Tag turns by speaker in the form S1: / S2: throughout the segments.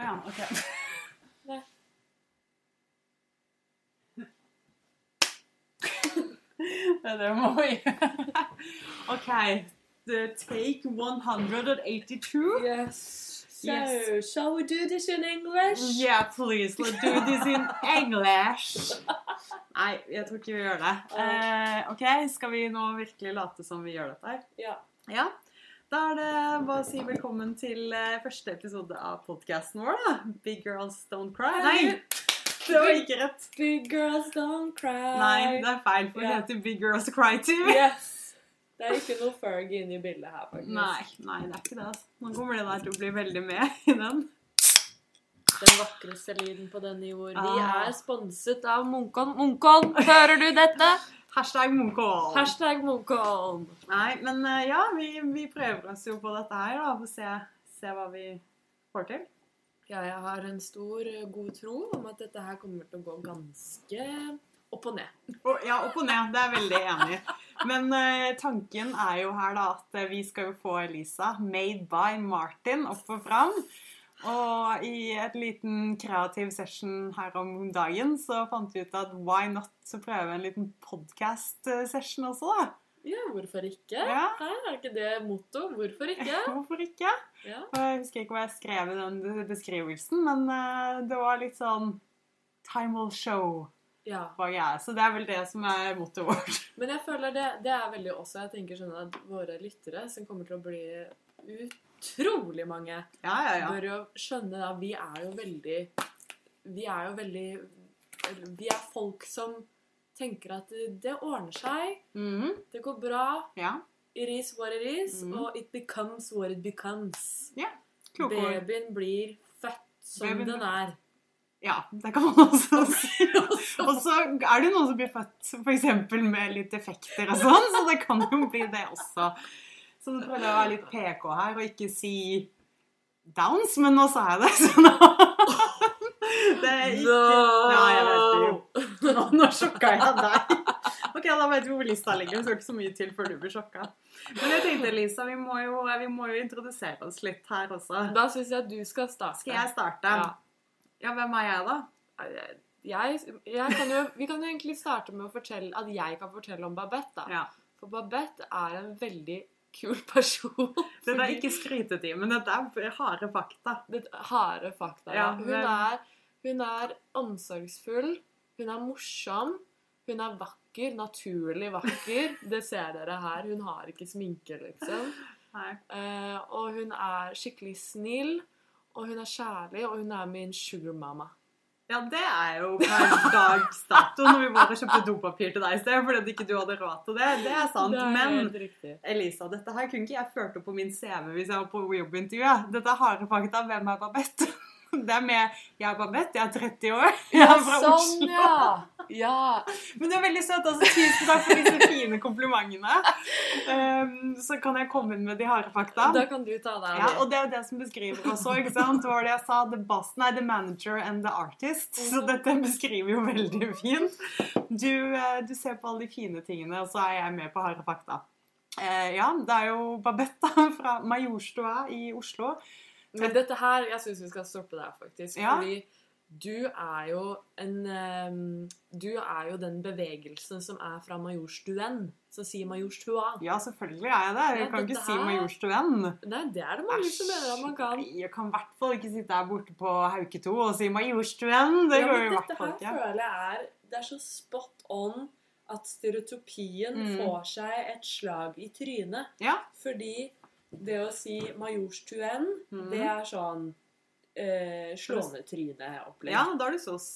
S1: Å ja, ok.
S2: Nei.
S1: det er det vi må gjøre. OK. The take 182.
S2: Yes. So,
S1: Yes.
S2: shall we do this in English?
S1: Yeah, please, let's do this in English. Nei, jeg tror ikke vi gjør det. Eh, ok, Skal vi nå virkelig late som vi gjør dette her?
S2: Ja.
S1: Ja. Da er det bare å si velkommen til eh, første episode av podkasten vår. da. Big Girls Don't Cry.
S2: Nei.
S1: det var ikke rett.
S2: Big girls don't cry.
S1: Nei, det er feil, for det
S2: Ja.
S1: heter Big Girls Cry TV.
S2: Yes. Det er ikke noe Fergie inne i bildet her, faktisk.
S1: Nei, nei, det er ikke det. altså. Nå kommer det der til å bli veldig med i den.
S2: Den vakreste lyden på denne jord. Vi
S1: Ah.
S2: er sponset av Munkholm. Munkholm, hører du dette?
S1: Hashtag Munkholm.
S2: Hashtag Munkholm.
S1: Nei, men eh, ja, vi, vi prøver oss jo på dette her, da. For å se, se hva vi får til.
S2: Ja, jeg har en stor, eh, god tro om at dette her kommer til å gå ganske opp og ned.
S1: Og- Ja, opp og ned. Det er jeg veldig enig i. Men eh, tanken er jo her da at eh, vi skal jo få Elisa, made by Martin, opp og fram. Og i et liten kreativ session her om dagen så fant vi ut at why not så prøve en liten podcast-session også, da.
S2: Ja, hvorfor ikke?
S1: Ja.
S2: Her er ikke det motto. Hvorfor ikke?
S1: Hvorfor ikke?
S2: Ja.
S1: Og Jeg husker ikke hva jeg skrev i den beskrivelsen, men eh, det var litt sånn Time will show,
S2: ja.
S1: hva jeg er. Så det er vel det som er mottoet vårt.
S2: Men jeg føler det, det er veldig også Jeg tenker sånn at våre lyttere, som kommer til å bli utrolig mange,
S1: Ja, ja, ja.
S2: bør jo skjønne at vi er jo veldig Vi er jo veldig Vi er folk som tenker at det ordner seg,
S1: Mhm,
S2: det går bra,
S1: ja.
S2: it is what it is,
S1: Mhm.
S2: og it becomes what it becomes.
S1: Kloke ord.
S2: Babyen blir født som
S1: Babyen-
S2: den er.
S1: Ja, det kan man også si. Og så er det jo noen som blir født for eksempel med litt defekter og sånn, så det kan jo bli det også. Så nå prøvde jeg å være litt PK her og ikke si downs, men nå sa jeg det. Så nå Det er ikke Nei, jeg vet det jo. Nå, nå sjokka jeg deg. Ok, Da vet vi hvor lista ligger. Det skal ikke så mye til før du blir sjokka. Men jeg tenkte, Lisa, vi må jo, vi må jo introdusere oss litt her også.
S2: Da syns jeg du skal starte.
S1: Skal jeg starte?
S2: Ja.
S1: Ja, hvem er jeg, da?
S2: jeg, jeg kan jo, vi kan jo egentlig starte med å fortelle at jeg kan fortelle om Babette. Da.
S1: Ja.
S2: For Babette er en veldig kul person.
S1: Dette er
S2: Fordi-
S1: ikke skrytetid, men dette er harde fakta.
S2: Det er harde fakta. da.
S1: Ja,
S2: hun,
S1: men-
S2: er, hun er omsorgsfull, hun er morsom, hun er vakker, naturlig vakker. Det ser dere her. Hun har ikke sminke, liksom.
S1: Nei.
S2: Eh, og hun er skikkelig snill, og hun er kjærlig, og hun er min sugar mama.
S1: Ja, det er jo per dags dato når vi bare kjøpte dopapir til deg i sted fordi at ikke du hadde råd til det. Det er sant.
S2: det er
S1: Men
S2: helt riktig.
S1: Elisa, dette her kunne ikke jeg ført opp på min CV hvis jeg var på jobbintervju. Dette er harde fakta. Hvem er Babette? Det er med Jeg er Babette, jeg er 30 år. Jeg er fra
S2: Sånn,
S1: Oslo.
S2: ja! Ja,
S1: Men du er veldig søt. altså Tusen takk for disse fine komplimentene. Ehm, så kan jeg komme inn med de harde fakta.
S2: Da kan du ta deg
S1: Ja,
S2: av det.
S1: og det er jo det som beskriver også, ikke sant? Det var det jeg sa, the boss, nei, the manager and the artist.
S2: Mm.
S1: Så dette beskriver jo veldig fint. Du, eh, du ser på alle de fine tingene, og så er jeg med på harde fakta. Eh, ja, det er jo Babette da, fra Majorstua i Oslo.
S2: Men dette her, jeg syns vi skal stoppe der, faktisk.
S1: Ja.
S2: Fordi du er jo en ehm, Du er jo den bevegelsen som er fra Majorstuen, som sier Majorstua.
S1: Ja, selvfølgelig er jeg det. Jeg
S2: Ja,
S1: kan
S2: dette
S1: ikke si
S2: her-
S1: Majorstuen.
S2: Nei, det er det mange som mener at man kan.
S1: Æsj, Jeg kan i hvert fall ikke sitte her borte på Hauke 2 og si Majorstuen. Det
S2: Ja,
S1: går jo
S2: men
S1: i
S2: dette
S1: hvert fall
S2: her
S1: ikke.
S2: føler jeg er Det er så spot on at stereotypien
S1: Mm.
S2: får seg et slag i trynet.
S1: Ja.
S2: Fordi det å si Majorstuen,
S1: Mm.
S2: det er sånn eh, slående-tryne-opplegg.
S1: Ja, da er du sos.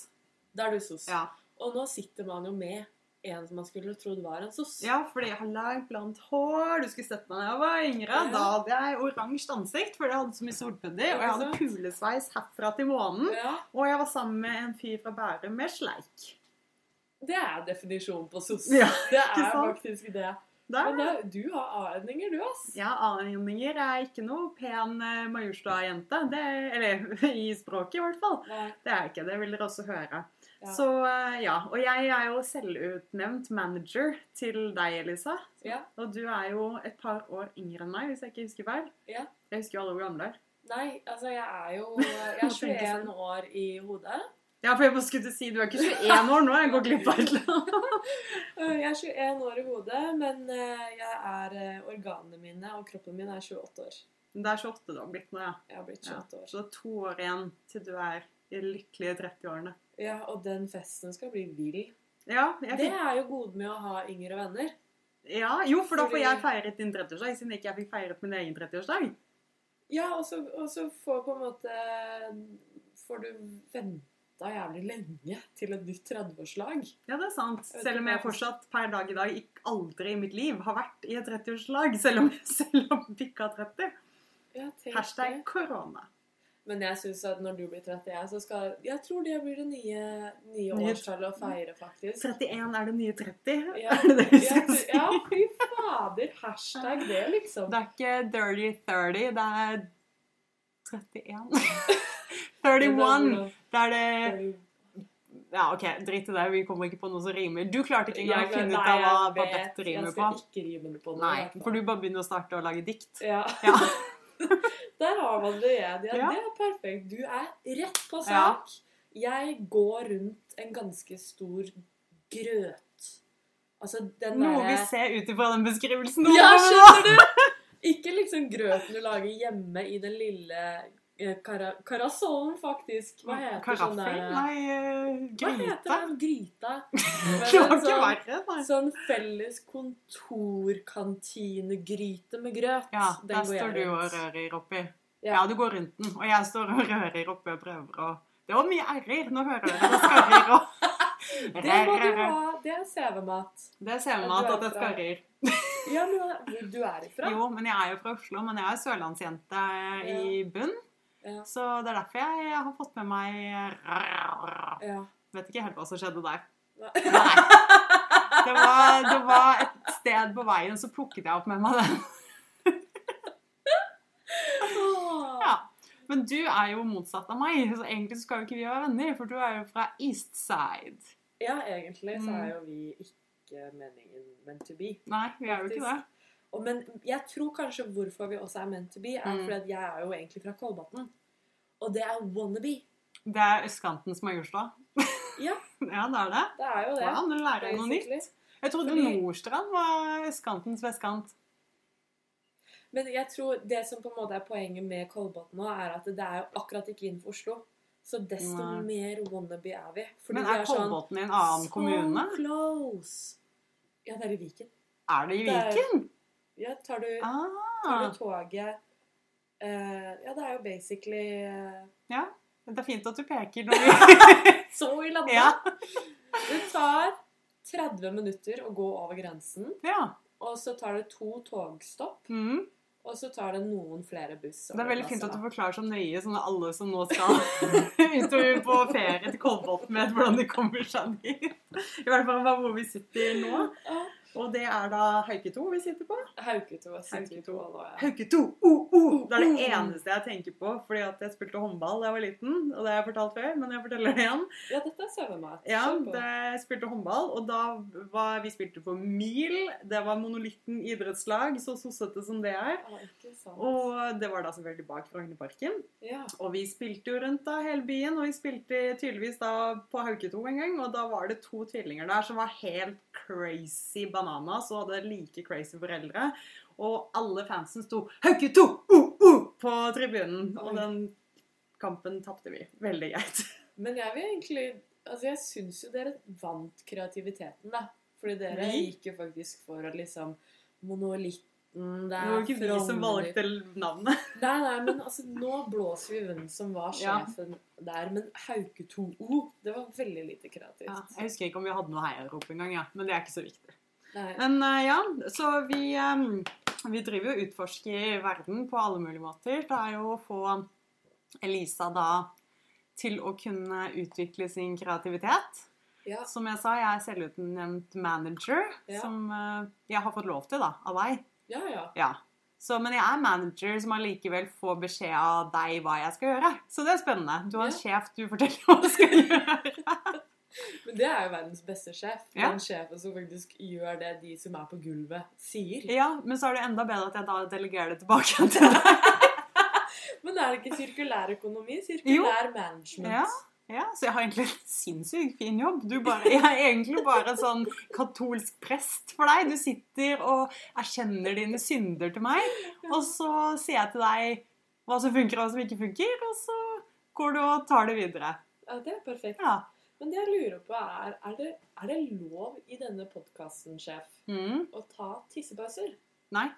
S2: Da er du sos.
S1: Ja.
S2: Og nå sitter man jo med en som man skulle trodd var en sos.
S1: Ja, fordi jeg har langt, blankt hår. Du skulle sett meg da jeg var yngre.
S2: Ja.
S1: Da hadde jeg oransje ansikt, fordi jeg hadde så mye solpudder. Og jeg hadde
S2: Ikke sant?
S1: kulesveis herfra til månen.
S2: Ja,
S1: Og jeg var sammen med en fyr fra Bærum med sleik.
S2: Det er definisjonen på sos.
S1: Ja,
S2: det er
S1: ikke sant?
S2: faktisk det.
S1: Der.
S2: Men det, du har a-endinger, du, ass.
S1: Ja, aninger er ikke noe pen eh, Majorstua-jente. Det- Eller i språket, i hvert fall.
S2: Nei,
S1: Det er jeg ikke. Det vil dere også høre.
S2: Ja.
S1: Så eh, ja. Og jeg er jo selvutnevnt manager til deg, Elisa.
S2: Ja.
S1: Og du er jo et par år yngre enn meg, hvis jeg ikke husker feil.
S2: Ja.
S1: Jeg husker jo alle hvor gamle du er.
S2: Nei, altså jeg er jo Jeg er 21 år i hodet.
S1: Ja, for jeg bare skulle til å si du er ikke 21 år nå. Jeg går glipp av et eller annet.
S2: Eh, Jeg er 21 år i hodet, men eh, jeg er eh, Organene mine og kroppen min er 28 år.
S1: Men Det er 28 du har blitt nå, ja.
S2: Jeg har blitt
S1: Ja.
S2: 28 år.
S1: Så det er to år igjen til du er i de lykkelige 30-årene.
S2: Ja, og den festen skal bli vill.
S1: Ja, jeg
S2: Det
S1: fikk,
S2: er jo godet med å ha yngre venner.
S1: ja, jo, for da får
S2: Fordi-
S1: jeg feiret din 30-årsdag, siden ikke jeg fikk feiret min egen 30-årsdag.
S2: Ja, og så, og så får på en måte Får du venta jævlig lenge til et nytt 30-årslag.
S1: Ja, det er sant.
S2: Jeg vet
S1: Selv om
S2: ikke
S1: jeg
S2: hva-
S1: fortsatt per dag i dag ikke aldri i mitt liv har vært i et 30-årslag, selv om selv om jeg bikka 30.
S2: Ja, tenk
S1: Hashtag
S2: det.
S1: korona.
S2: Men jeg syns at når du blir 31, så skal Jeg tror det blir det nye, nye
S1: Nye-
S2: årstallet å feire, faktisk.
S1: 31 er det nye 30.
S2: Ja.
S1: Er det det vi
S2: Ja,
S1: skal
S2: du-
S1: si?
S2: ja, fy fader. Hashtag det, liksom.
S1: Det er ikke dirty 30, det er 31. 31. Det er det Ja, OK, drit i det. Vi kommer ikke på noe som rimer. Du klarte ikke engang å finne ut av hva Babette rimer
S2: Jeg
S1: på.
S2: skal ikke rime det på noe.
S1: Nei,
S2: i hvert fall.
S1: for du bare begynner å starte å lage dikt.
S2: Ja.
S1: Ja.
S2: Der har man det igjen.
S1: Ja.
S2: Ja, Det er perfekt. Du er rett på
S1: Ja.
S2: sak. Jeg går rundt en ganske stor grøt. Altså den
S1: Noe vi
S2: derre
S1: ser ut ifra den beskrivelsen.
S2: Ja, skjønner du? Ikke liksom grøten du lager hjemme i den lille eh, kara karasollen, faktisk. Hva heter
S1: Karaffel?
S2: sånn der
S1: Nei, eh,
S2: Hva heter
S1: gryte?
S2: den? Gryta. Men
S1: Det var
S2: en
S1: ikke
S2: sånn-
S1: verre. nei.
S2: Sånn felles kontorkantinegryte med grøt.
S1: Ja,
S2: Den
S1: der
S2: går jeg
S1: står du og
S2: rundt.
S1: rører oppi.
S2: Ja.
S1: Ja, du går rundt den, og jeg står og rører oppi og prøver å Det var mye r-er. Nå hører jeg det skarrer og
S2: Det må du ha. Det er CV-mat.
S1: Det ser man at det skarrer.
S2: Ja, men hvor du er ifra?
S1: Jo, men jeg er jo fra Oslo, men jeg er sørlandsjente eh, i bunn.
S2: Ja.
S1: Så det er derfor jeg har fått med meg r-er.
S2: Ja.
S1: Vet ikke helt hva som skjedde der.
S2: Nei.
S1: Nei. Det var, det var et sted på veien, så plukket jeg opp med meg den. Ja. Men du er jo motsatt av meg, så egentlig så skal jo ikke vi være venner, for du er jo fra East Side.
S2: ja, egentlig så
S1: Mm.
S2: er jo vi ikke meningen meant to be.
S1: Nei, vi er jo ikke det.
S2: Og, men jeg tror kanskje hvorfor vi også er meant to be, er
S1: Mm.
S2: fordi at jeg er jo egentlig fra Kolbotn. Og det er wannabe.
S1: Det er østkanten som har Oslo.
S2: Ja.
S1: ja, det er det.
S2: Det er jo det.
S1: Wow, nå lærer jeg noe nytt.
S2: basically.
S1: Jeg trodde
S2: Fordi-
S1: Nordstrand var østkantens vestkant.
S2: Men jeg tror det som på en måte er poenget med Kolbotn nå, er at det er jo akkurat ikke innenfor Oslo. Så desto
S1: Nei.
S2: mer wannabe er sånn vi. Fordi
S1: Men
S2: vi
S1: er Kolbotn i en annen
S2: so
S1: kommune?
S2: close! Ja, det er i Viken.
S1: Er det i
S2: Det er-
S1: Viken?
S2: Ja, tar du, tar
S1: Ah,
S2: du toget eh, Ja, det er jo basically eh,
S1: det er fint at du peker når vi
S2: så i landet.
S1: Ja.
S2: Det tar 30 minutter å gå over grensen,
S1: Ja.
S2: og så tar det to togstopp,
S1: Mm.
S2: og så tar det noen flere buss.
S1: Det er veldig fint
S2: altså.
S1: at du forklarer så nøye sånn at alle som nå skal ut og på ferie til Kolbotn, vet hvordan de kommer seg dit. I hvert fall bare hvor vi sitter nå. Og det er da Hauke 2 vi sitter på.
S2: Hauketo
S1: Hauketo.
S2: og Sinketo. Ja.
S1: Hauke 2! Oh, oh. Det er det
S2: Oh, oh.
S1: eneste jeg tenker på, fordi at jeg spilte håndball da jeg var liten. Og det har jeg fortalt før, men jeg forteller det igjen.
S2: ja, dette er sauemat.
S1: Ja,
S2: Kjør på.
S1: det, jeg spilte håndball, og da var vi spilte for mil. Det var monolitten idrettslag, så sossete som det er.
S2: Ja, ikke sant.
S1: Og det var da selvfølgelig bak Frognerparken.
S2: Ja.
S1: Og vi spilte jo rundt da hele byen, og vi spilte tydeligvis da på Hauketo en gang, og da var det to tvillinger der som var helt crazy bananas og hadde like crazy foreldre. Og alle fansen sto 'Hauketo! Uh, uh!' på tribunen, og
S2: Oi.
S1: den kampen tapte vi. Veldig greit.
S2: Men jeg vil egentlig Altså, jeg syns jo dere vant kreativiteten, da. Fordi dere
S1: Vi?
S2: gikk jo faktisk for at liksom Monolitten
S1: Det
S2: der
S1: var jo ikke vi som valgte navnet.
S2: Nei, nei, men altså, nå blåser vi hvem som var
S1: Ja.
S2: sjefen der. Men Hauke 2O, det var veldig lite kreativt.
S1: jeg husker ikke om vi hadde noe heiarop engang, ja. men det er ikke så viktig.
S2: Nei.
S1: Men eh, ja, så vi, eh, vi driver jo og utforsker verden på alle mulige måter. Det er jo å få Elisa da til å kunne utvikle sin kreativitet.
S2: Ja.
S1: Som jeg sa, jeg er selvutnevnt manager,
S2: Ja.
S1: som eh, jeg har fått lov til da, av deg.
S2: ja, ja.
S1: Ja. Så, men jeg er manager som allikevel får beskjed av deg hva jeg skal gjøre. Så det er spennende. Du har en sjef du forteller hva du skal gjøre.
S2: Men det er jo verdens beste sjef.
S1: Ja.
S2: Den sjefen som faktisk gjør det de som er på gulvet, sier.
S1: Ja, men så er det enda bedre at jeg da delegerer det tilbake til deg.
S3: Men er det ikke sirkulær økonomi? Sirkulær management.
S1: Ja. Ja, så jeg har egentlig en sinnssykt fin jobb. Du bare, jeg er egentlig bare en sånn katolsk prest for deg. Du sitter og erkjenner dine synder til meg, og så sier jeg til deg hva som funker og hva som ikke funker, og så går du og tar det videre.
S3: Ja, det er perfekt.
S1: Ja.
S3: Men det jeg lurer på, er er det, er det lov i denne podkasten, sjef,
S1: Mm.
S3: å ta tissepauser?
S1: Nei.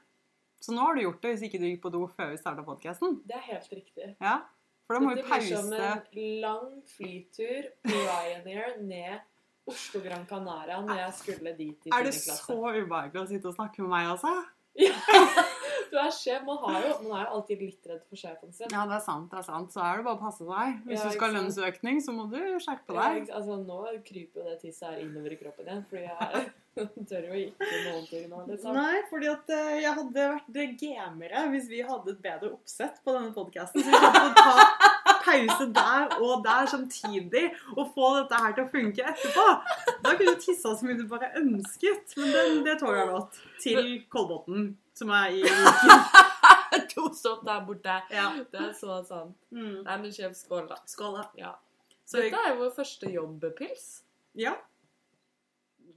S1: Så nå har du gjort det hvis ikke du gikk på do før vi starta podkasten.
S3: Det er helt riktig.
S1: Ja. For da må vi
S3: Dette blir som
S1: pause.
S3: en lang flytur på Ryanair ned Oslo Gran Canaria når jeg skulle dit i
S1: Er det
S3: tiende
S1: så
S3: klasse.
S1: ubehagelig å sitte og snakke med meg, altså?
S3: Du er sjef. Man, har jo, man er jo alltid litt redd for sjefen sin.
S1: Ja, det er sant. det er sant. Så er det bare å passe seg. Hvis
S3: Ja,
S1: du skal ha
S3: ikke
S1: lønnsøkning, så må du skjerpe
S3: Ja,
S1: deg.
S3: ikke- altså, nå kryper jo det tisset her innover i kroppen igjen, fordi jeg tør jo ikke noen ting nå. Liksom.
S1: Nei, fordi at eh, jeg hadde vært gamere hvis vi hadde et bedre oppsett på denne podkasten. Så vi hadde fått ta pause der og der samtidig og få dette her til å funke etterpå. Da kunne du tissa så mye du bare ønsket. Men det, det tåler jeg godt. Til Kolbotn, som er i Viken.
S2: To stopp der borte.
S1: Ja.
S2: Det er så sant.
S1: Mm.
S2: Nei, men sjef, skål, da.
S1: Skål, da.
S2: Ja.
S1: Så
S2: Dette er jo vår første jobbpils.
S1: ja.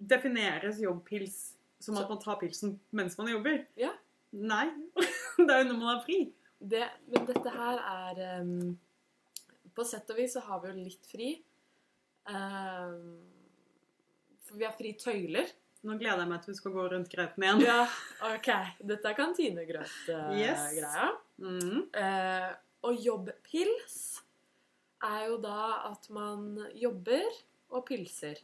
S1: Defineres jobbpils som at man tar pilsen mens man jobber?
S2: Ja.
S1: Nei. Det er jo når man er fri.
S2: Det, men dette her er ehm, På sett og vis så har vi jo litt fri. Ehm, for vi har fri tøyler.
S1: Nå gleder jeg meg til du skal gå rundt grøten igjen.
S2: Ja, OK. Dette er kantinegrøt-greia.
S1: Yes. Mm.
S2: Eh, og jobbpils er jo da at man jobber og pilser.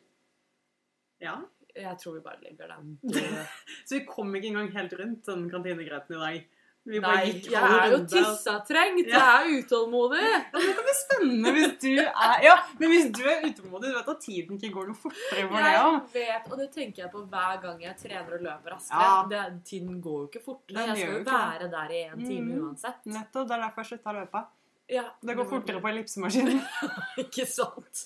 S1: Ja.
S2: Jeg tror vi bare legger den. på-
S1: Så vi kom ikke engang helt rundt den kantinegrøten i dag. Vi bare
S2: Nei,
S1: gikk
S2: jeg
S1: halv
S2: er jo
S1: runde. altså.
S2: tissatrengt! Jeg
S1: Ja.
S2: er utålmodig!
S1: Ja, men Det kan bli spennende hvis du er Ja, men hvis du er utålmodig, du vet at tiden ikke går noe fortere for det
S2: Jeg
S1: òg.
S2: vet, og det tenker jeg på hver gang jeg trener og løper, Astrid.
S1: Ja.
S2: Det, tiden går jo ikke fortere.
S1: Den
S2: Jeg
S1: gjør
S2: skal
S1: jo
S2: jo
S1: ikke
S2: være der i en time
S1: Mhm.
S2: uansett.
S1: Nettopp. Det er derfor jeg slutta å løpe.
S2: Ja,
S1: Det går fortere på ellipsemaskinen.
S2: Ikke sant?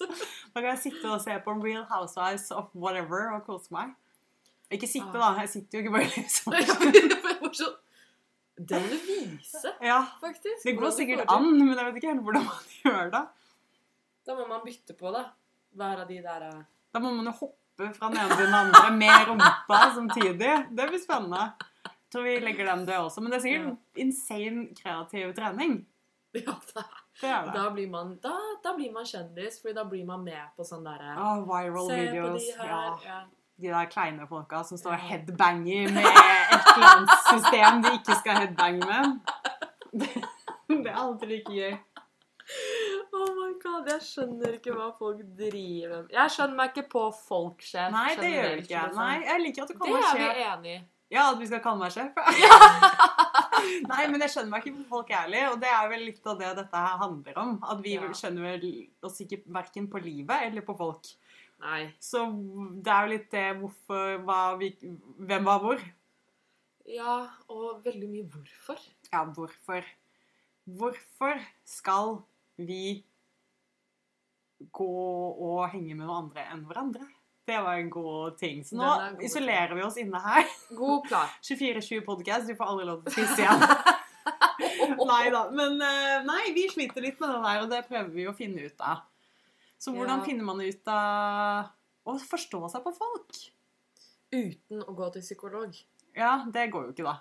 S1: Da kan jeg sitte og se på Real Housewives of whatever og kose meg. Ikke sitte, da.
S2: Ah.
S1: Jeg sitter jo ikke på ellipsemaskinen.
S2: Jeg får sånn Det må du vise,
S1: Ja.
S2: faktisk.
S1: Det går
S2: hvordan du får
S1: sikkert
S2: til.
S1: an, men jeg vet ikke helt hvordan man gjør det.
S3: Da må man bytte på, da. Hver av de der eh,
S1: Da må man jo hoppe fra den ene til den andre med rumpa samtidig. Det blir spennende. Jeg tror vi legger den død også. Men det er sikkert insane kreativ trening.
S2: Ja, da,
S1: Det er det.
S2: da, blir man, da, da blir man kjendis, for da blir man med på sånn derre
S1: Åh, viral
S2: Se på
S1: videos.
S2: de her.
S1: Ah, Ja.
S2: Ja.
S1: De der kleine folka som står og
S2: Ja.
S1: headbanger med et eller annet system de ikke skal headbange med. Det, det er alltid like gøy.
S2: Oh my god, jeg skjønner ikke hva folk driver med. Jeg skjønner meg ikke på folk, sjef.
S1: Nei, det gjør vi
S2: generelt,
S1: ikke.
S2: liksom.
S1: Nei, jeg liker at du
S2: Det
S1: kaller
S2: er
S1: meg sjef.
S2: vi enig i.
S1: Ja, at vi skal kalle meg sjef. Nei, men jeg skjønner meg ikke på folk ærlig, og det er vel litt av det dette her handler om. At vi
S2: Ja.
S1: vel skjønner vel oss ikke verken på livet eller på folk.
S2: Nei.
S1: Så det er jo litt det hvorfor hva vi, Hvem var hvor?
S2: Ja, og veldig mye hvorfor.
S1: Ja, hvorfor? Hvorfor skal vi gå og henge med noen andre enn hverandre? Det var en god ting. Så nå
S2: Den er god.
S1: isolerer vi oss inne her.
S2: God plan.
S1: 24-7 podcast, du får aldri lov til å spise igjen. Nei da. Men eh, nei, vi sliter litt med det der, og det prøver vi å finne ut av. Så hvordan
S2: Ja.
S1: finner man ut av å forstå seg på folk?
S2: Uten å gå til psykolog.
S1: Ja, det går jo ikke, da.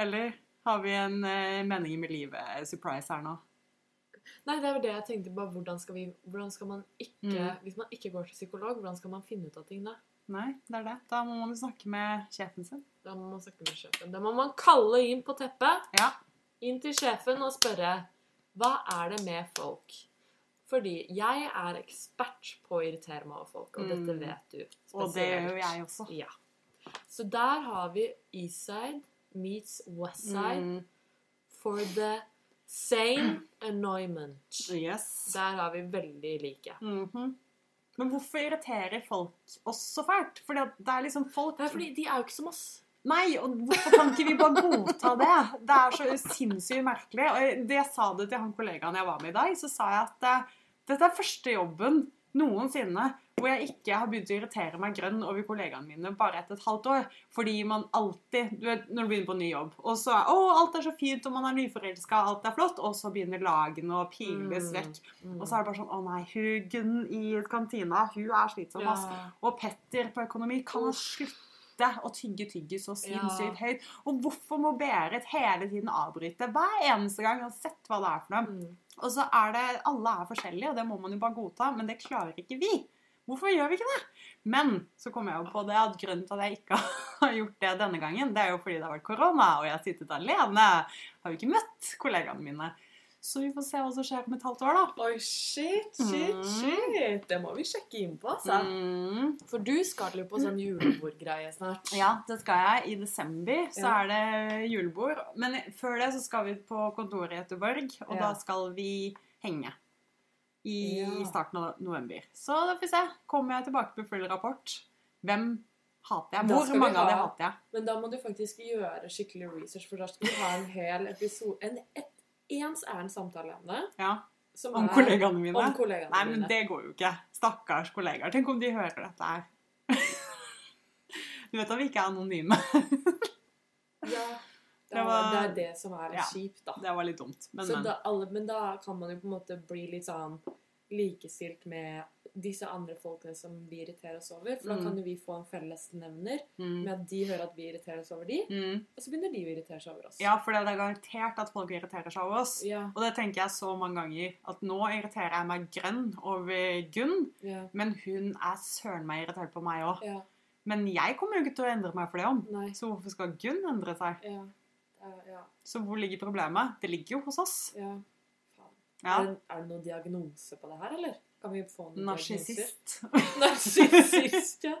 S1: Eller har vi en eh, mening med livet-surprise her nå?
S2: Nei, det var det jeg tenkte. bare Hvordan skal, vi, hvordan skal man ikke
S1: Mm.
S2: Hvis man ikke går til psykolog, hvordan skal man finne ut av ting da?
S1: Nei, det er det. Da må man jo snakke med sjefen sin.
S2: Da må man snakke med sjefen. Da må man kalle inn på teppet.
S1: Ja.
S2: Inn til sjefen og spørre Hva er det med folk? Fordi jeg er ekspert på å irritere meg over folk, og dette
S1: Mm.
S2: vet du.
S1: Og det gjør jo jeg også.
S2: Ja. Så der har vi Eastside meets Westside
S1: Mm,
S2: for the same annoyment.
S1: yes.
S2: Der har vi veldig like.
S1: Mhm. Men hvorfor irriterer folk oss så fælt? Fordi at det er liksom folk
S2: Det er fordi de er jo ikke som oss.
S1: Nei, og hvorfor kan ikke vi bare godta det? Det er så sinnssykt merkelig. Og jeg- det jeg sa det til han kollegaen jeg var med i dag, så sa jeg at eh, dette er første jobben noensinne hvor jeg ikke har begynt å irritere meg grønn over kollegaene mine bare etter et halvt år. Fordi man alltid du vet, Når du begynner på ny jobb, og så er å, alt er så fint, og man er nyforelska, alt er flott, og så begynner lagene å piles
S4: Mm.
S1: vekk. Og så er det bare sånn Å nei, hun Gunn i kantina, hun er slitsom, ass. Og Petter på økonomi, kan han slutte å tygge tyggis så sinnssykt høyt? Og hvorfor må Berit hele tiden avbryte hver eneste gang, uansett hva det er for noe?
S2: Mm.
S1: Og så er det Alle er forskjellige, og det må man jo bare godta, men det klarer ikke vi. Hvorfor gjør vi ikke det? Men så kom jeg jo på det at grunnen til at jeg ikke har gjort det denne gangen, det er jo fordi det har vært korona, og jeg har sittet alene. Har jo ikke møtt kollegaene mine. Så vi får se hva som skjer om et halvt år, da.
S2: Oi, shit, shit,
S1: Mm.
S2: shit. Det må vi sjekke inn på, altså.
S1: Mm.
S4: For du skal jo på sånn julebordgreie snart.
S1: Ja, det skal jeg. I desember så
S2: Ja.
S1: er det julebord. Men før det så skal vi på kontoret i Göteborg, og
S2: Ja.
S1: da skal vi henge. I
S2: Ja.
S1: starten av november. Så da får vi se. Kommer jeg tilbake med full rapport? Hvem hater jeg?
S2: Da
S1: Hvor
S2: skal vi
S1: mange av
S2: ha-
S1: de hater jeg?
S2: Men da må du faktisk gjøre skikkelig research, for da skal vi ha en hel episode En et, ens ærend samtale om det.
S1: Ja,
S2: som
S1: Om
S2: er-
S1: kollegaene mine?
S2: Om kollegaene
S1: Nei, men
S2: dine.
S1: det går jo ikke. Stakkars kollegaer. Tenk om de hører dette her. Du vet at vi ikke er anonyme.
S2: Ja, det,
S1: Det var-
S2: er- det er det som er litt
S1: Ja.
S2: kjipt, da.
S1: Det var litt dumt. Men,
S2: Så
S1: men.
S2: da, alle, men da kan man jo på en måte bli litt sånn likestilt med disse andre folkene som vi irriterer oss over. For da
S1: Mm.
S2: kan jo vi få en fellesnevner med
S1: Mm.
S2: at de hører at vi irriterer oss over de,
S1: Mm.
S2: og så begynner de å irritere seg over oss.
S1: Ja, for det er garantert at folk irriterer seg over oss.
S2: Ja,
S1: Og det tenker jeg så mange ganger, at nå irriterer jeg meg grønn over Gunn,
S2: ja,
S1: men hun er søren meg irritert på meg òg.
S2: ja,
S1: Men jeg kommer jo ikke til å endre meg for det om.
S2: nei,
S1: Så hvorfor skal Gunn endre seg?
S2: ja, ja, ja,
S1: Så hvor ligger problemet? Det ligger jo hos oss.
S2: ja. Faen.
S1: Ja.
S2: Er, det, er det noen diagnose på det her, eller? Kan vi få noen diagnoser?
S1: Narsissist.
S2: Narsissist, ja.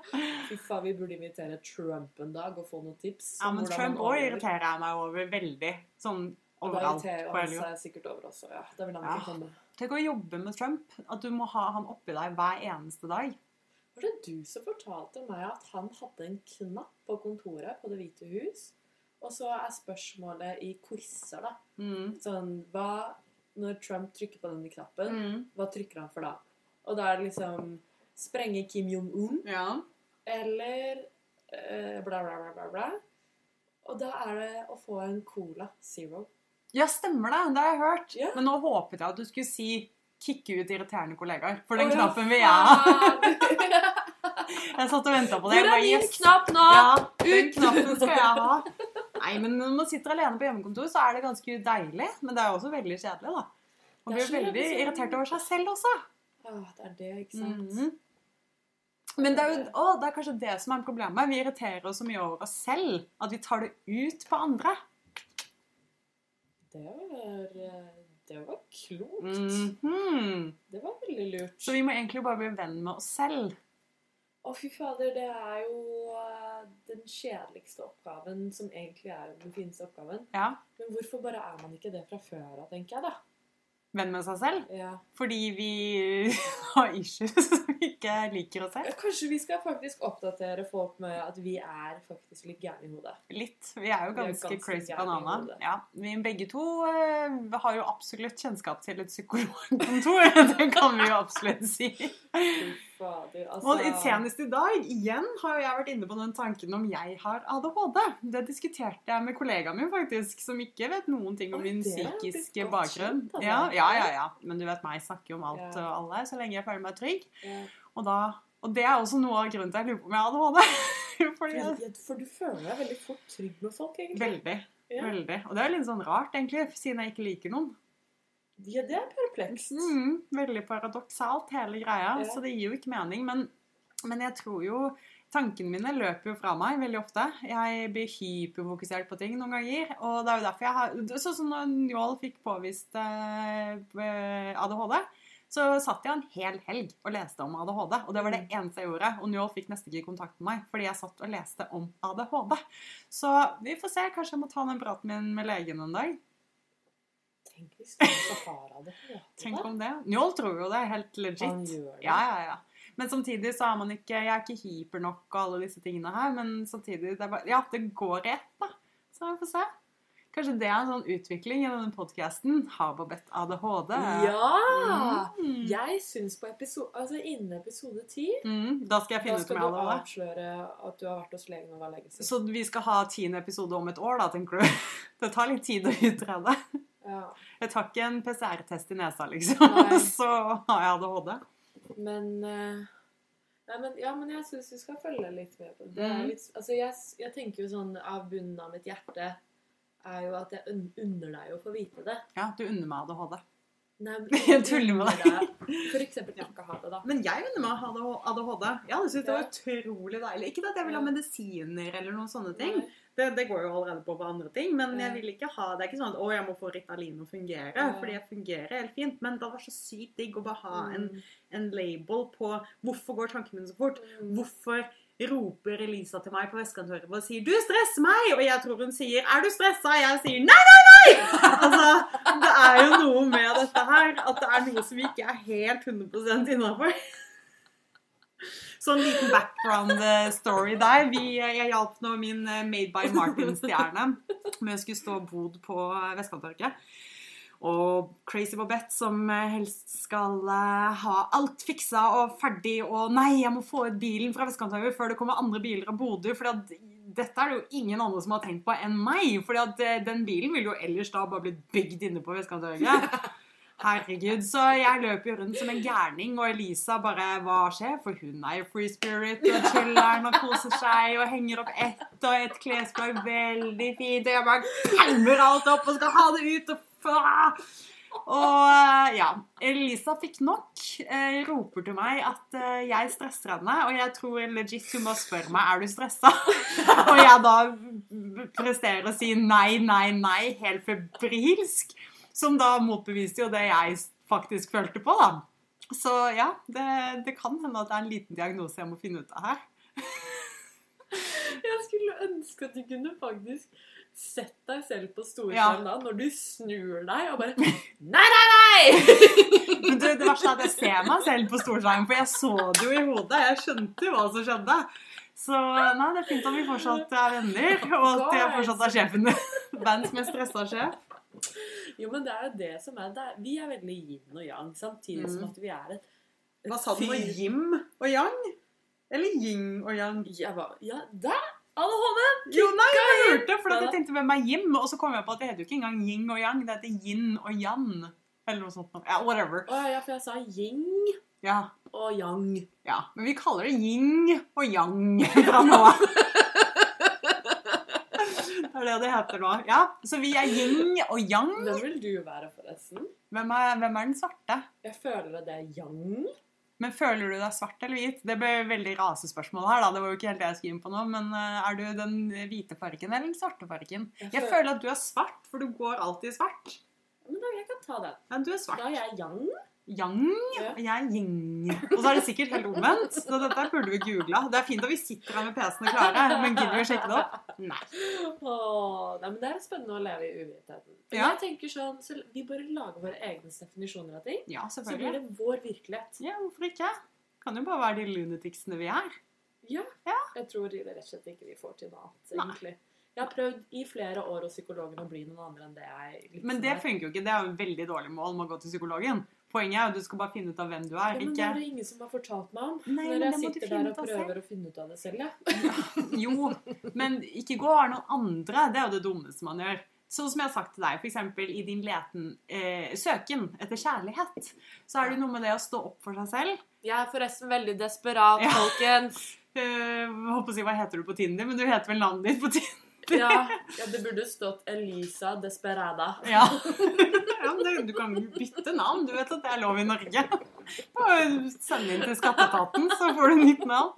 S2: Fy faen, vi burde invitere Trump en dag og få noen tips.
S1: Ja,
S2: om
S1: men
S2: hvordan
S1: Trump
S2: man
S1: òg
S2: overlever.
S1: irriterer jeg meg over veldig. Sånn
S2: Og da
S1: overalt.
S2: irriterer
S1: på
S2: han
S1: hele jord.
S2: seg sikkert over også, ja. Det vil han
S1: Ja.
S2: ikke komme.
S1: Tenk å jobbe med Trump. At du må ha han oppi deg hver eneste dag.
S2: Var det du som fortalte meg at han hadde en knapp på kontoret på Det hvite hus? Og så er spørsmålet i quizer, da.
S1: Mm.
S2: Sånn hva Når Trump trykker på denne knappen,
S1: Mm.
S2: hva trykker han for da? Og da er det liksom Sprenge Kim Jong-un
S1: Ja.
S2: eller eh, bla, bla, bla, bla, bla. Og da er det å få en Cola Zero.
S1: Ja, stemmer det. Det har jeg hørt.
S2: Ja.
S1: Men nå håpet jeg at du skulle si 'kikke ut irriterende kollegaer', for den
S2: Å, ja,
S1: knappen vil jeg ha.
S2: faen!
S1: Jeg satt og venta på det.
S2: Hvor
S1: Jeg
S2: er
S1: bare,
S2: min
S1: yes.
S2: knapp nå?
S1: Ja, den
S2: Ut!
S1: knappen skal jeg ha. Nei, men når man sitter alene på hjemmekontor, så er det ganske deilig. Men det er jo også veldig kjedelig, da. Man
S2: Det
S1: blir
S2: er så
S1: veldig
S2: kjedelig.
S1: irritert over seg selv også.
S2: Ah, det er det, ikke sant?
S1: Mhm. Men det er jo å, det er kanskje det som er problemet. Vi irriterer oss så mye over oss selv at vi tar det ut på andre.
S2: Det var, eh, det var klokt.
S1: Mhm.
S2: Det var veldig lurt.
S1: Så vi må egentlig bare bli venn med oss selv.
S2: Å, fy fader, det er jo eh, den kjedeligste oppgaven som egentlig er den fineste oppgaven.
S1: Ja.
S2: Men hvorfor bare er man ikke det fra før av, tenker jeg, da?
S1: Venn med seg selv.
S2: Ja.
S1: Fordi vi har issues som vi ikke liker oss selv.
S2: Ja, Kanskje vi skal faktisk oppdatere folk med at vi er faktisk litt gærne i hodet.
S1: Litt. Vi er jo
S2: Vi er
S1: ganske,
S2: ganske
S1: crazy
S2: gærne i
S1: banana.
S2: hodet.
S1: Ja, vi begge to eh, har jo absolutt kjennskap til et psykologkontor. Det kan vi jo absolutt si.
S2: Fy fader, altså.
S1: Og i- senest i dag igjen har jo jeg vært inne på den tanken om jeg har ADHD. Det diskuterte jeg med kollegaen min, faktisk, som ikke vet noen ting om
S2: Oi,
S1: min
S2: det er blitt
S1: psykiske
S2: godt
S1: bakgrunn.
S2: kjent, altså.
S1: Ja, ja, ja, ja. Men du vet meg, jeg snakker jo om alt
S2: Ja.
S1: og alle så lenge jeg føler meg trygg.
S2: Ja.
S1: Og, da, og det er også noe av grunnen til at jeg lurer på om jeg har ADHD. Fordi
S2: Ja, For du føler deg veldig fort trygg med folk, egentlig.
S1: Veldig.
S2: Ja.
S1: veldig. Og det er litt sånn rart, egentlig, siden jeg ikke liker noen.
S2: Ja, det er perplekst.
S1: Mm, veldig paradoksalt, hele greia.
S2: Ja.
S1: Så det gir jo ikke mening. Men, men jeg tror jo Tankene mine løper jo fra meg veldig ofte. Jeg blir hyperfokusert på ting noen ganger. Og det er jo derfor jeg har Sånn som når Njål fikk påvist eh, eh, ADHD, så satt jeg en hel helg og leste om ADHD. Og det var det eneste jeg gjorde. Og Njål fikk nesten ikke kontakt med meg fordi jeg satt og leste om ADHD. Så vi får se. Kanskje jeg må ta den praten min med legen en dag.
S2: Tenk hvis du også har av det. på
S1: Tenk
S2: deg.
S1: om det. Njål tror jo det er helt legit.
S2: Han gjør det.
S1: Ja, ja, ja. Men samtidig så er man ikke Jeg er ikke hyper nok og alle disse tingene her, men samtidig det er bare, Ja, det går i ett, da. Så vi får se. Kanskje det er en sånn utvikling i denne podkasten. Har Babette ADHD?
S2: Ja!
S1: Mm.
S2: Jeg syns på episode, altså innen episode 10
S1: Mm, da skal jeg
S2: Da
S1: finne ut om
S2: skal du
S1: jeg hadde det.
S2: avsløre at du har vært hos legen og var lege sist.
S1: Så vi skal ha tiende episode om et år, da, tenker du? Det tar litt tid å utrede.
S2: Ja.
S1: Jeg tar ikke en PCR-test i nesa, liksom.
S2: Nei.
S1: Så har jeg ADHD.
S2: Men, eh, nei, men Ja, men jeg syns vi skal følge litt med på det. det.
S1: Mhm.
S2: Er litt, altså, jeg, s- jeg tenker jo sånn av bunnen av mitt hjerte er jo at jeg un unner deg å få vite det.
S1: Ja, du unner meg ADHD.
S2: Nei, men
S1: Jeg tuller med
S2: unner deg For eksempel ikke ha det, da.
S1: Men jeg unner meg ADHD. Jeg hadde syntes det var
S2: Ja.
S1: utrolig deilig. Ikke at jeg vil ha
S2: Ja.
S1: medisiner eller noen sånne ting.
S2: Nei.
S1: Det, det går jo allerede på hverandre ting, men
S2: Ja.
S1: jeg vil ikke ha Det er ikke sånn at å, jeg må få Ritalin å fungere,
S2: Ja.
S1: fordi jeg fungerer helt fint. Men det var så sykt digg å bare ha en,
S2: Mm.
S1: en label på hvorfor går tankene mine så fort.
S2: Mm.
S1: Hvorfor roper Elisa til meg på vestkantoret og sier 'du stresser meg', og jeg tror hun sier 'er du stressa', og jeg sier 'nei, nei, nei'! Altså, det er jo noe med dette her at det er noe som ikke er helt 100 innafor. Sånn liten background eh, story der. Vi, jeg hjalp nå min eh, Made by Martin-stjerne med å skulle stå bod på eh, Vestkanttorget. Og Crazy Bobette som eh, helst skal eh, ha alt fiksa og ferdig og nei, jeg må få ut bilen fra Vestkanttorget før det kommer andre biler av Bodø. For at dette er det jo ingen andre som har tenkt på enn meg. For at eh, den bilen ville jo ellers da bare blitt bygd inne på Vestkanttorget. Herregud, så jeg løper jo rundt som en gærning, og Elisa bare Hva skjer? For hun er jo free spirit og chiller'n og koser seg og henger opp ett og ett klesplagg veldig fint, og jeg bare klemmer alt opp og skal ha det ut og fa- og eh, ja, Elisa fikk nok. Eh, roper til meg at eh, jeg stresser henne. Og jeg tror legit hun må spørre meg er du stressa. og jeg da presterer å si nei, nei, nei helt febrilsk. Som da motbeviste jo det jeg faktisk følte på, da. Så ja, det, det kan hende at det er en liten diagnose jeg må finne ut av her.
S2: Jeg skulle ønske at du kunne faktisk sett deg selv på
S1: Ja.
S2: storskjerm da, når du snur deg og bare Nei, nei, nei!
S1: Men du, det verste er at jeg ser meg selv på storskjerm, for jeg så det jo i hodet. Jeg skjønte jo hva som skjedde. Så nei, det er fint at vi fortsatt er venner, og at jeg fortsatt er sjefen Verdens mest stressa sjef.
S2: Jo, men det er jo det som er det. er- Vi er veldig yin og yang, samtidig
S1: Mm.
S2: som at vi er et
S1: Hva sa du nå?
S2: Fy-
S1: Jim og Yang? Eller Ying og Yang?
S2: Jeg var, ja, der! ADHD!
S1: Jo, nei, jeg lurte, for at jeg tenkte hvem er Jim? Og så kom jeg på at det heter jo ikke engang Ying og Yang, det heter Yin og Yan. Eller noe sånt. Ja, whatever.
S2: Å ja, for jeg sa yin
S1: Ja,
S2: og yang.
S1: ja. Men vi kaller det Ying og Yang fra nå av. Det er det det heter nå. Ja, så vi er Ying og Yang.
S2: Hvem vil du være, forresten?
S1: Hvem er, hvem er den svarte?
S2: Jeg føler at det er yang.
S1: Men føler du deg svart eller hvit? Det ble veldig rasespørsmål her, da. Det var jo ikke helt det jeg skulle inn på nå. Men eh, er du den hvite fargen eller den svarte fargen? Jeg
S2: føl-
S1: føler at du er svart, for du går alltid i svart.
S2: Men da, jeg kan ta den.
S1: Ja, du er
S2: Da
S1: svart.
S2: er jeg yang.
S1: Yang,
S2: Ja.
S1: og jeg er yin. Og så er det sikkert helt omvendt. Så dette burde vi googla. Det er fint at vi sitter her med PC-ene klare, men gidder vi å sjekke det opp? Nei.
S2: Åh, nei, men det er spennende å leve i uvitenheten. Men
S1: Ja.
S2: jeg tenker sånn, så Vi bare lager våre egne definisjoner av ting,
S1: Ja,
S2: så blir
S1: selvfølgelig.
S2: det vår virkelighet.
S1: Ja, hvorfor ikke? Kan jo bare være de lunaticsene vi er.
S2: Ja. Jeg tror rett og slett ikke vi får til noe annet,
S1: Nei.
S2: egentlig. Jeg har prøvd i flere år hos psykologen å bli noen andre enn det jeg liksom
S1: Men det
S2: er.
S1: funker jo ikke. Det er jo et veldig dårlig mål med å gå til psykologen. Poenget er jo at du skal bare finne ut av hvem du
S2: Ja,
S1: er.
S2: men det
S1: ikke...
S2: er det ingen som har fortalt meg om.
S1: Nei, men
S2: når
S1: det
S2: jeg
S1: må du
S2: sitter
S1: finne
S2: der og
S1: ut av selv.
S2: prøver å finne ut av det selv, ja.
S1: Jo, men ikke gå av noen andre. Det er jo det dummeste man gjør. Sånn som jeg har sagt til deg, f.eks. i din leten, eh, søken etter kjærlighet, så er det jo noe med det å stå opp for seg selv.
S4: Jeg er forresten veldig desperat,
S1: Ja.
S4: folkens.
S1: Eh, håper å si, Hva heter du på Tinder? Men du heter vel navnet ditt på Tinder?
S2: ja. Ja, det burde stått Elisa Desperada.
S1: Ja. ja men du, du kan jo bytte navn. Du vet at det er lov i Norge. Bare Send inn til skatteetaten, så får du nytt navn.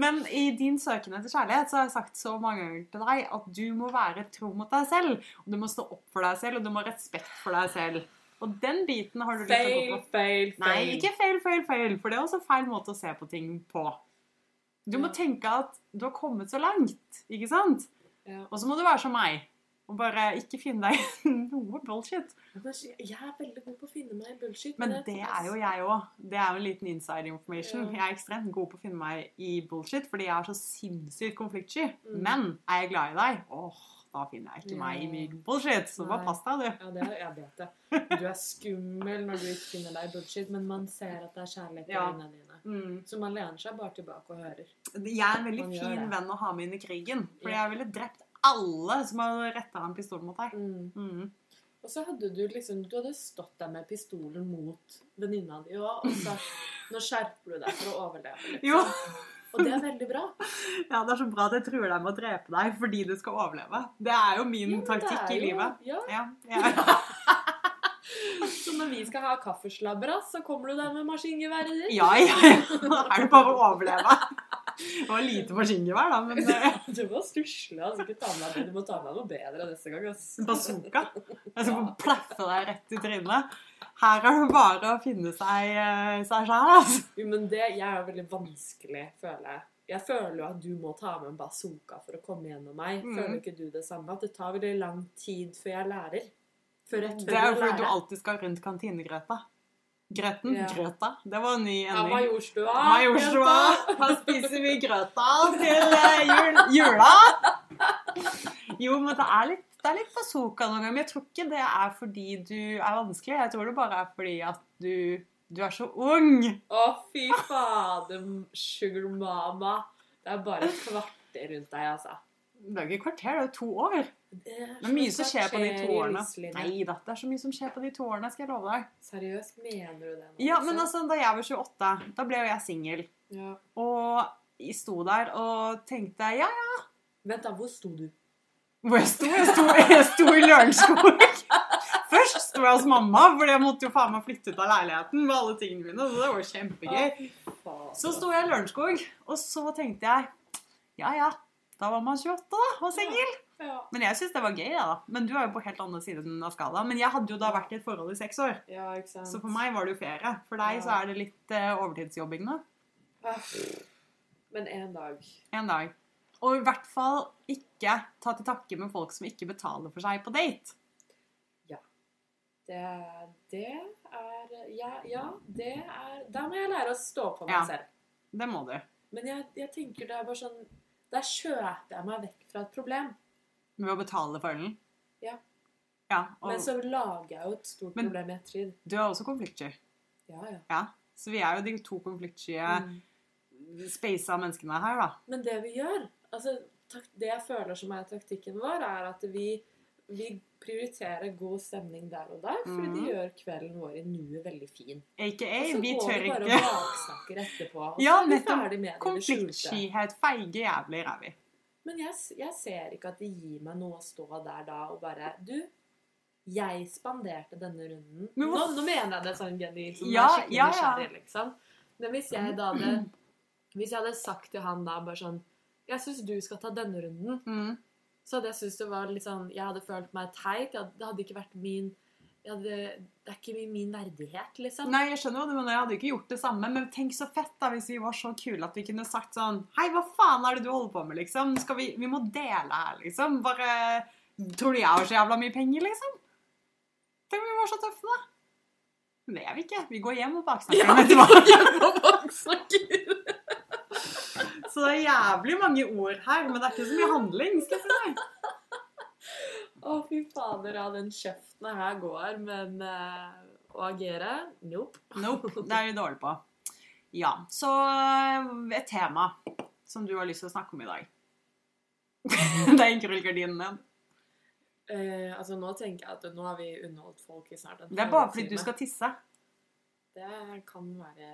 S1: Men i din søken etter kjærlighet så har jeg sagt så mange ganger til deg at du må være tro mot deg selv. Og du må stå opp for deg selv, og du må ha respekt for deg selv. Og den biten har du lyst til å gå
S2: Fail,
S1: på.
S2: fail, fail.
S1: Nei, ikke feil, feil, feil. For det er også feil måte å se på ting på. Du må
S2: Ja.
S1: tenke at du har kommet så langt, ikke sant?
S2: Ja.
S1: Og så må du være som meg. Og bare ikke finne deg i noe bullshit.
S2: Men Jeg er veldig god på å finne meg i bullshit.
S1: Men
S2: jeg-
S1: det er jo jeg òg. Det er jo en liten inside information.
S2: Ja.
S1: Jeg er ekstremt god på å finne meg i bullshit, fordi jeg er så sinnssykt konfliktsky.
S2: Mm.
S1: Men er jeg glad i deg? Åh, da finner jeg ikke
S4: Ja.
S1: meg i myk bullshit. Så bare
S2: Nei.
S1: pass deg, du.
S2: Ja, det er, jeg vet det. Du er skummel når du ikke finner deg i bullshit, men man ser at det er kjærlighet i
S1: Ja.
S2: øynene dine. Så man lener seg bare tilbake og hører.
S1: Jeg er en veldig
S2: Man gjør
S1: fin
S2: det.
S1: venn å ha med inn i krigen. For
S2: Ja.
S1: jeg ville drept alle som hadde retta en pistol mot deg. Mm.
S2: Og så hadde du liksom Du hadde stått der med pistolen mot venninna di òg, og sagt Nå skjerper du deg for å overleve. liksom.
S1: Jo,
S2: Og det er veldig bra.
S1: ja, Det er så bra at jeg truer deg med å drepe deg fordi du skal overleve. Det er jo min
S2: Ja, men det
S1: taktikk
S2: er
S1: i
S2: jo-
S1: livet.
S2: Ja,
S1: Ja, ja.
S2: Så når vi skal ha kaffeslabberas, så kommer du der med maskingeværet ditt?
S1: ja, ja, ja. Er det bare å overleve? Det var lite maskingevær, da, men eh,
S2: Det var stusslig. Altså. Ikke ta med deg det. Du må ta med deg noe bedre neste gang. ass.
S1: bazooka. Jeg skal bare plaffe deg rett i trynet. Her er det bare å finne seg eh, seg sjæl, altså.
S2: Jo, men det jeg er jo veldig vanskelig, føler jeg. Jeg føler jo at du må ta med en bazooka for å komme gjennom meg.
S1: Mm.
S2: Føler ikke du det samme? At det tar veldig lang tid før jeg lærer. Før jeg
S1: Mm. Det
S2: tør
S1: er
S2: å
S1: jo fordi du
S2: lære.
S1: alltid skal rundt kantinegrøta. Grøten?
S2: Ja.
S1: Grøta? Det var en ny
S2: Ja,
S1: ending.
S2: Majorstua.
S1: Majorstua. Her Ah, spiser vi grøta til eh, jul, jula. Jo, men det er litt, det er litt bazooka noen ganger. Men jeg tror ikke det er fordi du er vanskelig. Jeg tror det bare er fordi at du, du er så ung.
S2: Å, fy fader, sugar mama. Det er bare et kvarter rundt deg, altså.
S1: Det er jo ikke et kvarter, det er jo to år. Det er mye som skjer på de to årene. Nei da, det er så mye som skjer på de to årene, skal jeg love deg.
S2: Seriøst, mener du det nå?
S1: Ja, men
S2: liksom?
S1: altså, da jeg var 28, da ble jo jeg singel.
S2: ja.
S1: Og jeg sto der og tenkte ja, ja.
S2: Vent da, hvor sto du?
S1: Hvor jeg sto? Jeg sto, jeg sto i Lørenskog. Først sto jeg hos mamma, for jeg måtte jo faen meg flytte ut av leiligheten med alle tingene mine. Så det var jo kjempegøy. Så sto jeg i Lørenskog, og så tenkte jeg ja, ja. Da var man 28 da, og singel.
S2: Ja,
S1: Men jeg syns det var gøy, jeg, da. Men du er jo på helt andre siden av skala. Men jeg hadde jo da vært i et forhold i seks år.
S2: ja ikke sant.
S1: Så for meg var det jo ferie. For deg så er det litt eh, overtidsjobbing nå.
S2: Ah, Men en dag.
S1: En dag. Og i hvert fall ikke ta til takke med folk som ikke betaler for seg på date.
S2: Det, det er ja, ja, det er Da må jeg lære å stå på meg
S1: Ja.
S2: selv.
S1: Det må du.
S2: Men jeg, jeg tenker det er bare sånn Der kjøper jeg meg vekk fra et problem.
S1: Ved å betale for ølen.
S2: Ja.
S1: Ja, og
S2: Men så lager jeg jo et stort
S1: Men-
S2: problem i ettertid.
S1: du er også konfliktsky.
S2: Ja, ja.
S1: Ja. Så vi er jo de to konfliktskye,
S2: Mm.
S1: speisa menneskene her, da.
S2: Men det vi gjør altså, tak, Det jeg føler som er taktikken vår, er at vi, vi prioriterer god stemning der og der, fordi
S1: Mhm.
S2: det gjør kvelden vår i nuet veldig fin.
S1: Aka,
S2: Og så
S1: vi
S2: går
S1: tør
S2: vi bare
S1: ikke.
S2: og baksnakker etterpå. Og
S1: Ja,
S2: så er vi
S1: nettopp.
S2: ferdig med det i det skjulte.
S1: Konfliktskyhet. Feige jævler er vi.
S2: Men jeg, s- jeg ser ikke at det gir meg noe å stå der da og bare Du, jeg spanderte denne runden.
S1: Men
S2: Nå,
S1: hvorfor-
S2: nå mener jeg det sånn genuint. som
S1: Ja,
S2: er
S1: ja,
S2: skikkelig
S1: ja.
S2: nysgjerrig, liksom. Men hvis jeg da hadde Hvis jeg hadde sagt til han da bare sånn Jeg syns du skal ta denne runden.
S1: Mm.
S2: Så hadde jeg syntes det var litt sånn Jeg hadde følt meg teit. Jeg hadde, det hadde ikke vært min jeg hadde, Det er ikke min, min verdighet, liksom.
S1: Nei, jeg skjønner jo det, men jeg hadde jo ikke gjort det samme. Men tenk så fett da, hvis vi var så kule at vi kunne sagt sånn Hei, hva faen er det du holder på med, liksom? Skal vi, vi må dele her, liksom. Bare Tror du jeg har så jævla mye penger, liksom? Tenk om vi var så tøffe, da. Men det er vi ikke. Vi går hjem og baksnakker dem etterpå.
S2: Baksnakker.
S1: Så det er jævlig mange ord her, men det er ikke så mye handling. skal jeg si deg.
S2: Å, fy fader, ja, den kjeften her går, men eh, å agere Nope.
S1: Nope. Det er vi dårlige på. Ja. Så eh, et tema som du har lyst til å snakke om i dag. det er ikke rullegardinen din.
S2: Eh, altså, nå tenker jeg at nå har vi underholdt folk i snart en
S1: Det er bare
S2: halvtime.
S1: fordi du skal tisse.
S2: Det kan være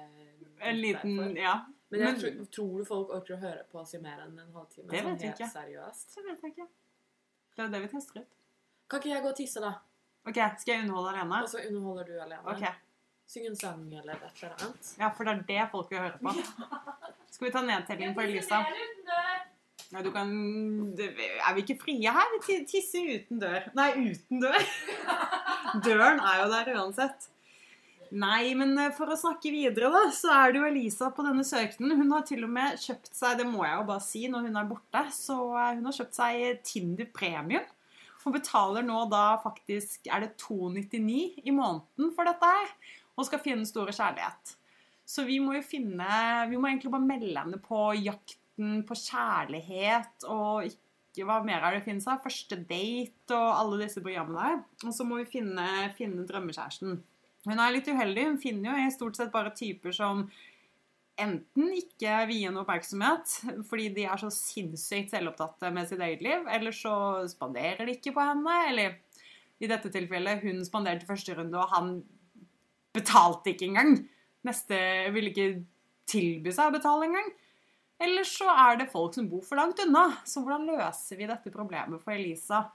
S1: En liten
S2: derfor.
S1: Ja.
S2: Men jeg
S1: men-
S2: tro, tror du folk orker å høre på oss i mer enn en halvtime?
S1: Det
S2: sånn
S1: vet jeg
S2: helt
S1: ikke.
S2: Seriøst.
S1: Så vet jeg ikke. Det er jo det vi tester ut.
S2: Kan ikke jeg gå og tisse, da?
S1: OK, skal jeg underholde alene?
S2: Og så underholder du alene?
S1: OK.
S2: Syng en sang eller et eller annet.
S1: Ja, for det er det folk vil høre på. Skal vi ta nedtelling på Elisa? Nei, du kan det- Er vi ikke frie her? Vi ti- tisser uten dør. Nei, uten dør. Døren er jo der uansett. Nei, men eh, for å snakke videre, da, så er det jo Elisa på denne søkenen. Hun har til og med kjøpt seg, det må jeg jo bare si når hun er borte, så eh, hun har kjøpt seg Tinder Premium. Hun betaler nå da faktisk er det 299 i måneden for dette her, og skal finne den store kjærlighet. Så vi må jo finne Vi må egentlig bare melde henne på jakten på kjærlighet og ikke hva mer er det finnes av? Første date og alle disse programmene her. Og så må vi finne, finne drømmekjæresten. Hun er litt uheldig. Hun finner jo stort sett bare typer som enten ikke vier henne oppmerksomhet fordi de er så sinnssykt selvopptatte med sitt eget liv, eller så spanderer de ikke på henne, eller i dette tilfellet hun spanderte første runde, og han betalte ikke engang. Neste ville ikke tilby seg å betale engang. Eller så er det folk som bor for langt unna. Så hvordan løser vi dette problemet for Elisa?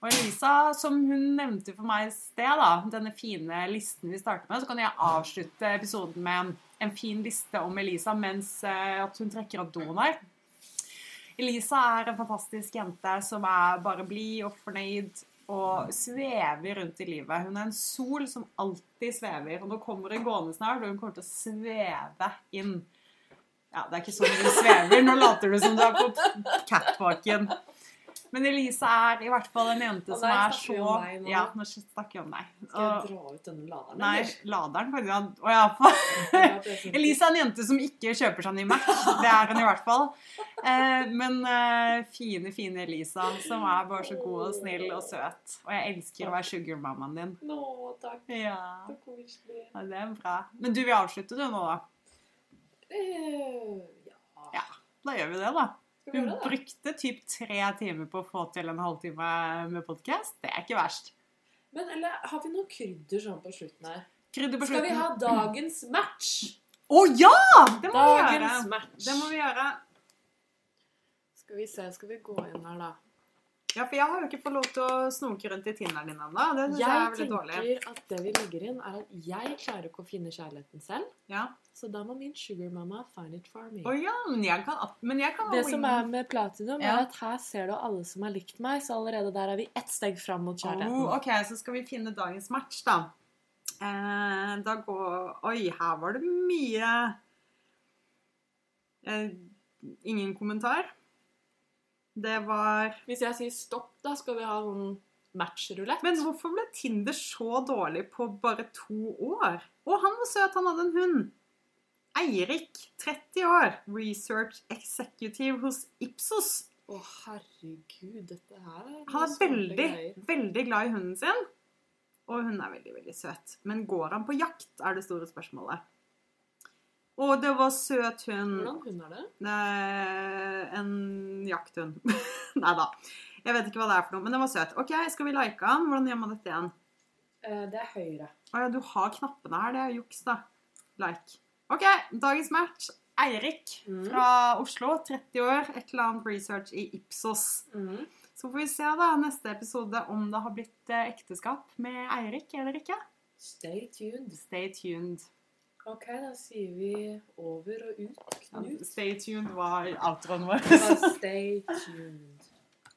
S1: Og Elisa, som hun nevnte for meg i sted, da, denne fine listen vi starter med, så kan jeg avslutte episoden med en, en fin liste om Elisa mens eh, at hun trekker opp doen her. Elisa er en fantastisk jente som er bare blid og fornøyd og svever rundt i livet. Hun er en sol som alltid svever. Og nå kommer hun gående snart, og hun kommer til å sveve inn. Ja, det er ikke sånn hun svever. Nå later du som du er på catwalken. Men Elise er i hvert fall en jente
S2: Og
S1: som er
S2: der snakker vi
S1: så
S2: om deg nå.
S1: Ja, nå snakker vi om deg.
S2: Skal jeg
S1: Og,
S2: dra ut denne laderen?
S1: nei,
S2: eller?
S1: laderen kan ja. Å ja, faen.
S2: Ja, det er sånn-
S1: Elise er en jente som ikke kjøper seg ny Mac. Det er hun i hvert fall. Eh, men eh, fine, fine Elisa, som er bare så god og snill og søt. Og jeg elsker å være sugarmammaen din.
S2: Nå, takk.
S1: Ja.
S2: Så koselig.
S1: ja, det er bra. Men du vil avslutte du nå, da?
S2: Eh, ja.
S1: Ja. Da gjør vi det, da.
S2: Skal vi
S1: Hun
S2: gjøre det?
S1: brukte typ tre timer på å få til en halvtime med podkast. Det er ikke verst.
S2: Men eller, har vi noen krydder sånn på slutten her?
S1: Krydder på
S2: Skal vi
S1: slutten. Å
S2: ha dagens match?
S1: ja! Det må vi gjøre.
S4: Dagens match.
S1: Det må vi gjøre.
S4: Skal vi se, skal vi gå inn her, da?
S1: Ja, for jeg har jo ikke fått lov til å snoke rundt i Tinderen din ennå. Det syns jeg,
S4: Jeg
S1: er veldig dårlig.
S4: tenker at det vi legger inn, er at jeg klarer ikke å finne kjærligheten selv.
S1: Ja.
S4: Så da må min sugar mama find it for me.
S1: Å ja, men jeg kan, ab- men jeg kan
S4: Det
S1: ha
S4: som
S1: wing-
S4: er med platinum,
S1: Ja.
S4: er at her ser du alle som har likt meg, så allerede der er vi ett steg fram mot kjærligheten.
S1: oh, Ok, så skal vi finne dagens match, da. Eh, da går Oi, her var det mye eh, Ingen kommentar. Det var
S4: Hvis jeg sier stopp, da skal vi ha sånn matchrulett.
S1: Men hvorfor ble Tinder så dårlig på bare to år? Å, han var søt, han hadde en hund. Eirik, 30 år, research executive hos Ipsos.
S4: Å, herregud, dette her er
S1: Han er
S4: noe sånne
S1: veldig,
S4: greier.
S1: veldig glad i hunden sin. Og hun er veldig, veldig søt. Men går han på jakt, er det store spørsmålet. Og det var søt hund.
S4: Hvordan hund er det?
S1: Eh, en jakthund. Nei da. Jeg vet ikke hva det er for noe, men den var søt. OK, skal vi like han? Hvordan gjør man dette igjen?
S2: Eh, det er høyre.
S1: Å ja, du har knappene her. Det er juks, da. Like. OK, dagens match. Eirik
S4: Mm.
S1: fra Oslo, 30 år. Et eller annet research i Ipsos. Så får vi se da neste episode om det har blitt eh, ekteskap med Eirik eller ikke.
S2: Stay tuned.
S1: Stay tuned.
S2: Ok, da sier vi over og ut,
S1: Ja,
S2: Knut.
S1: Stay tuned var outroen vår.
S2: Bare Stay tuned.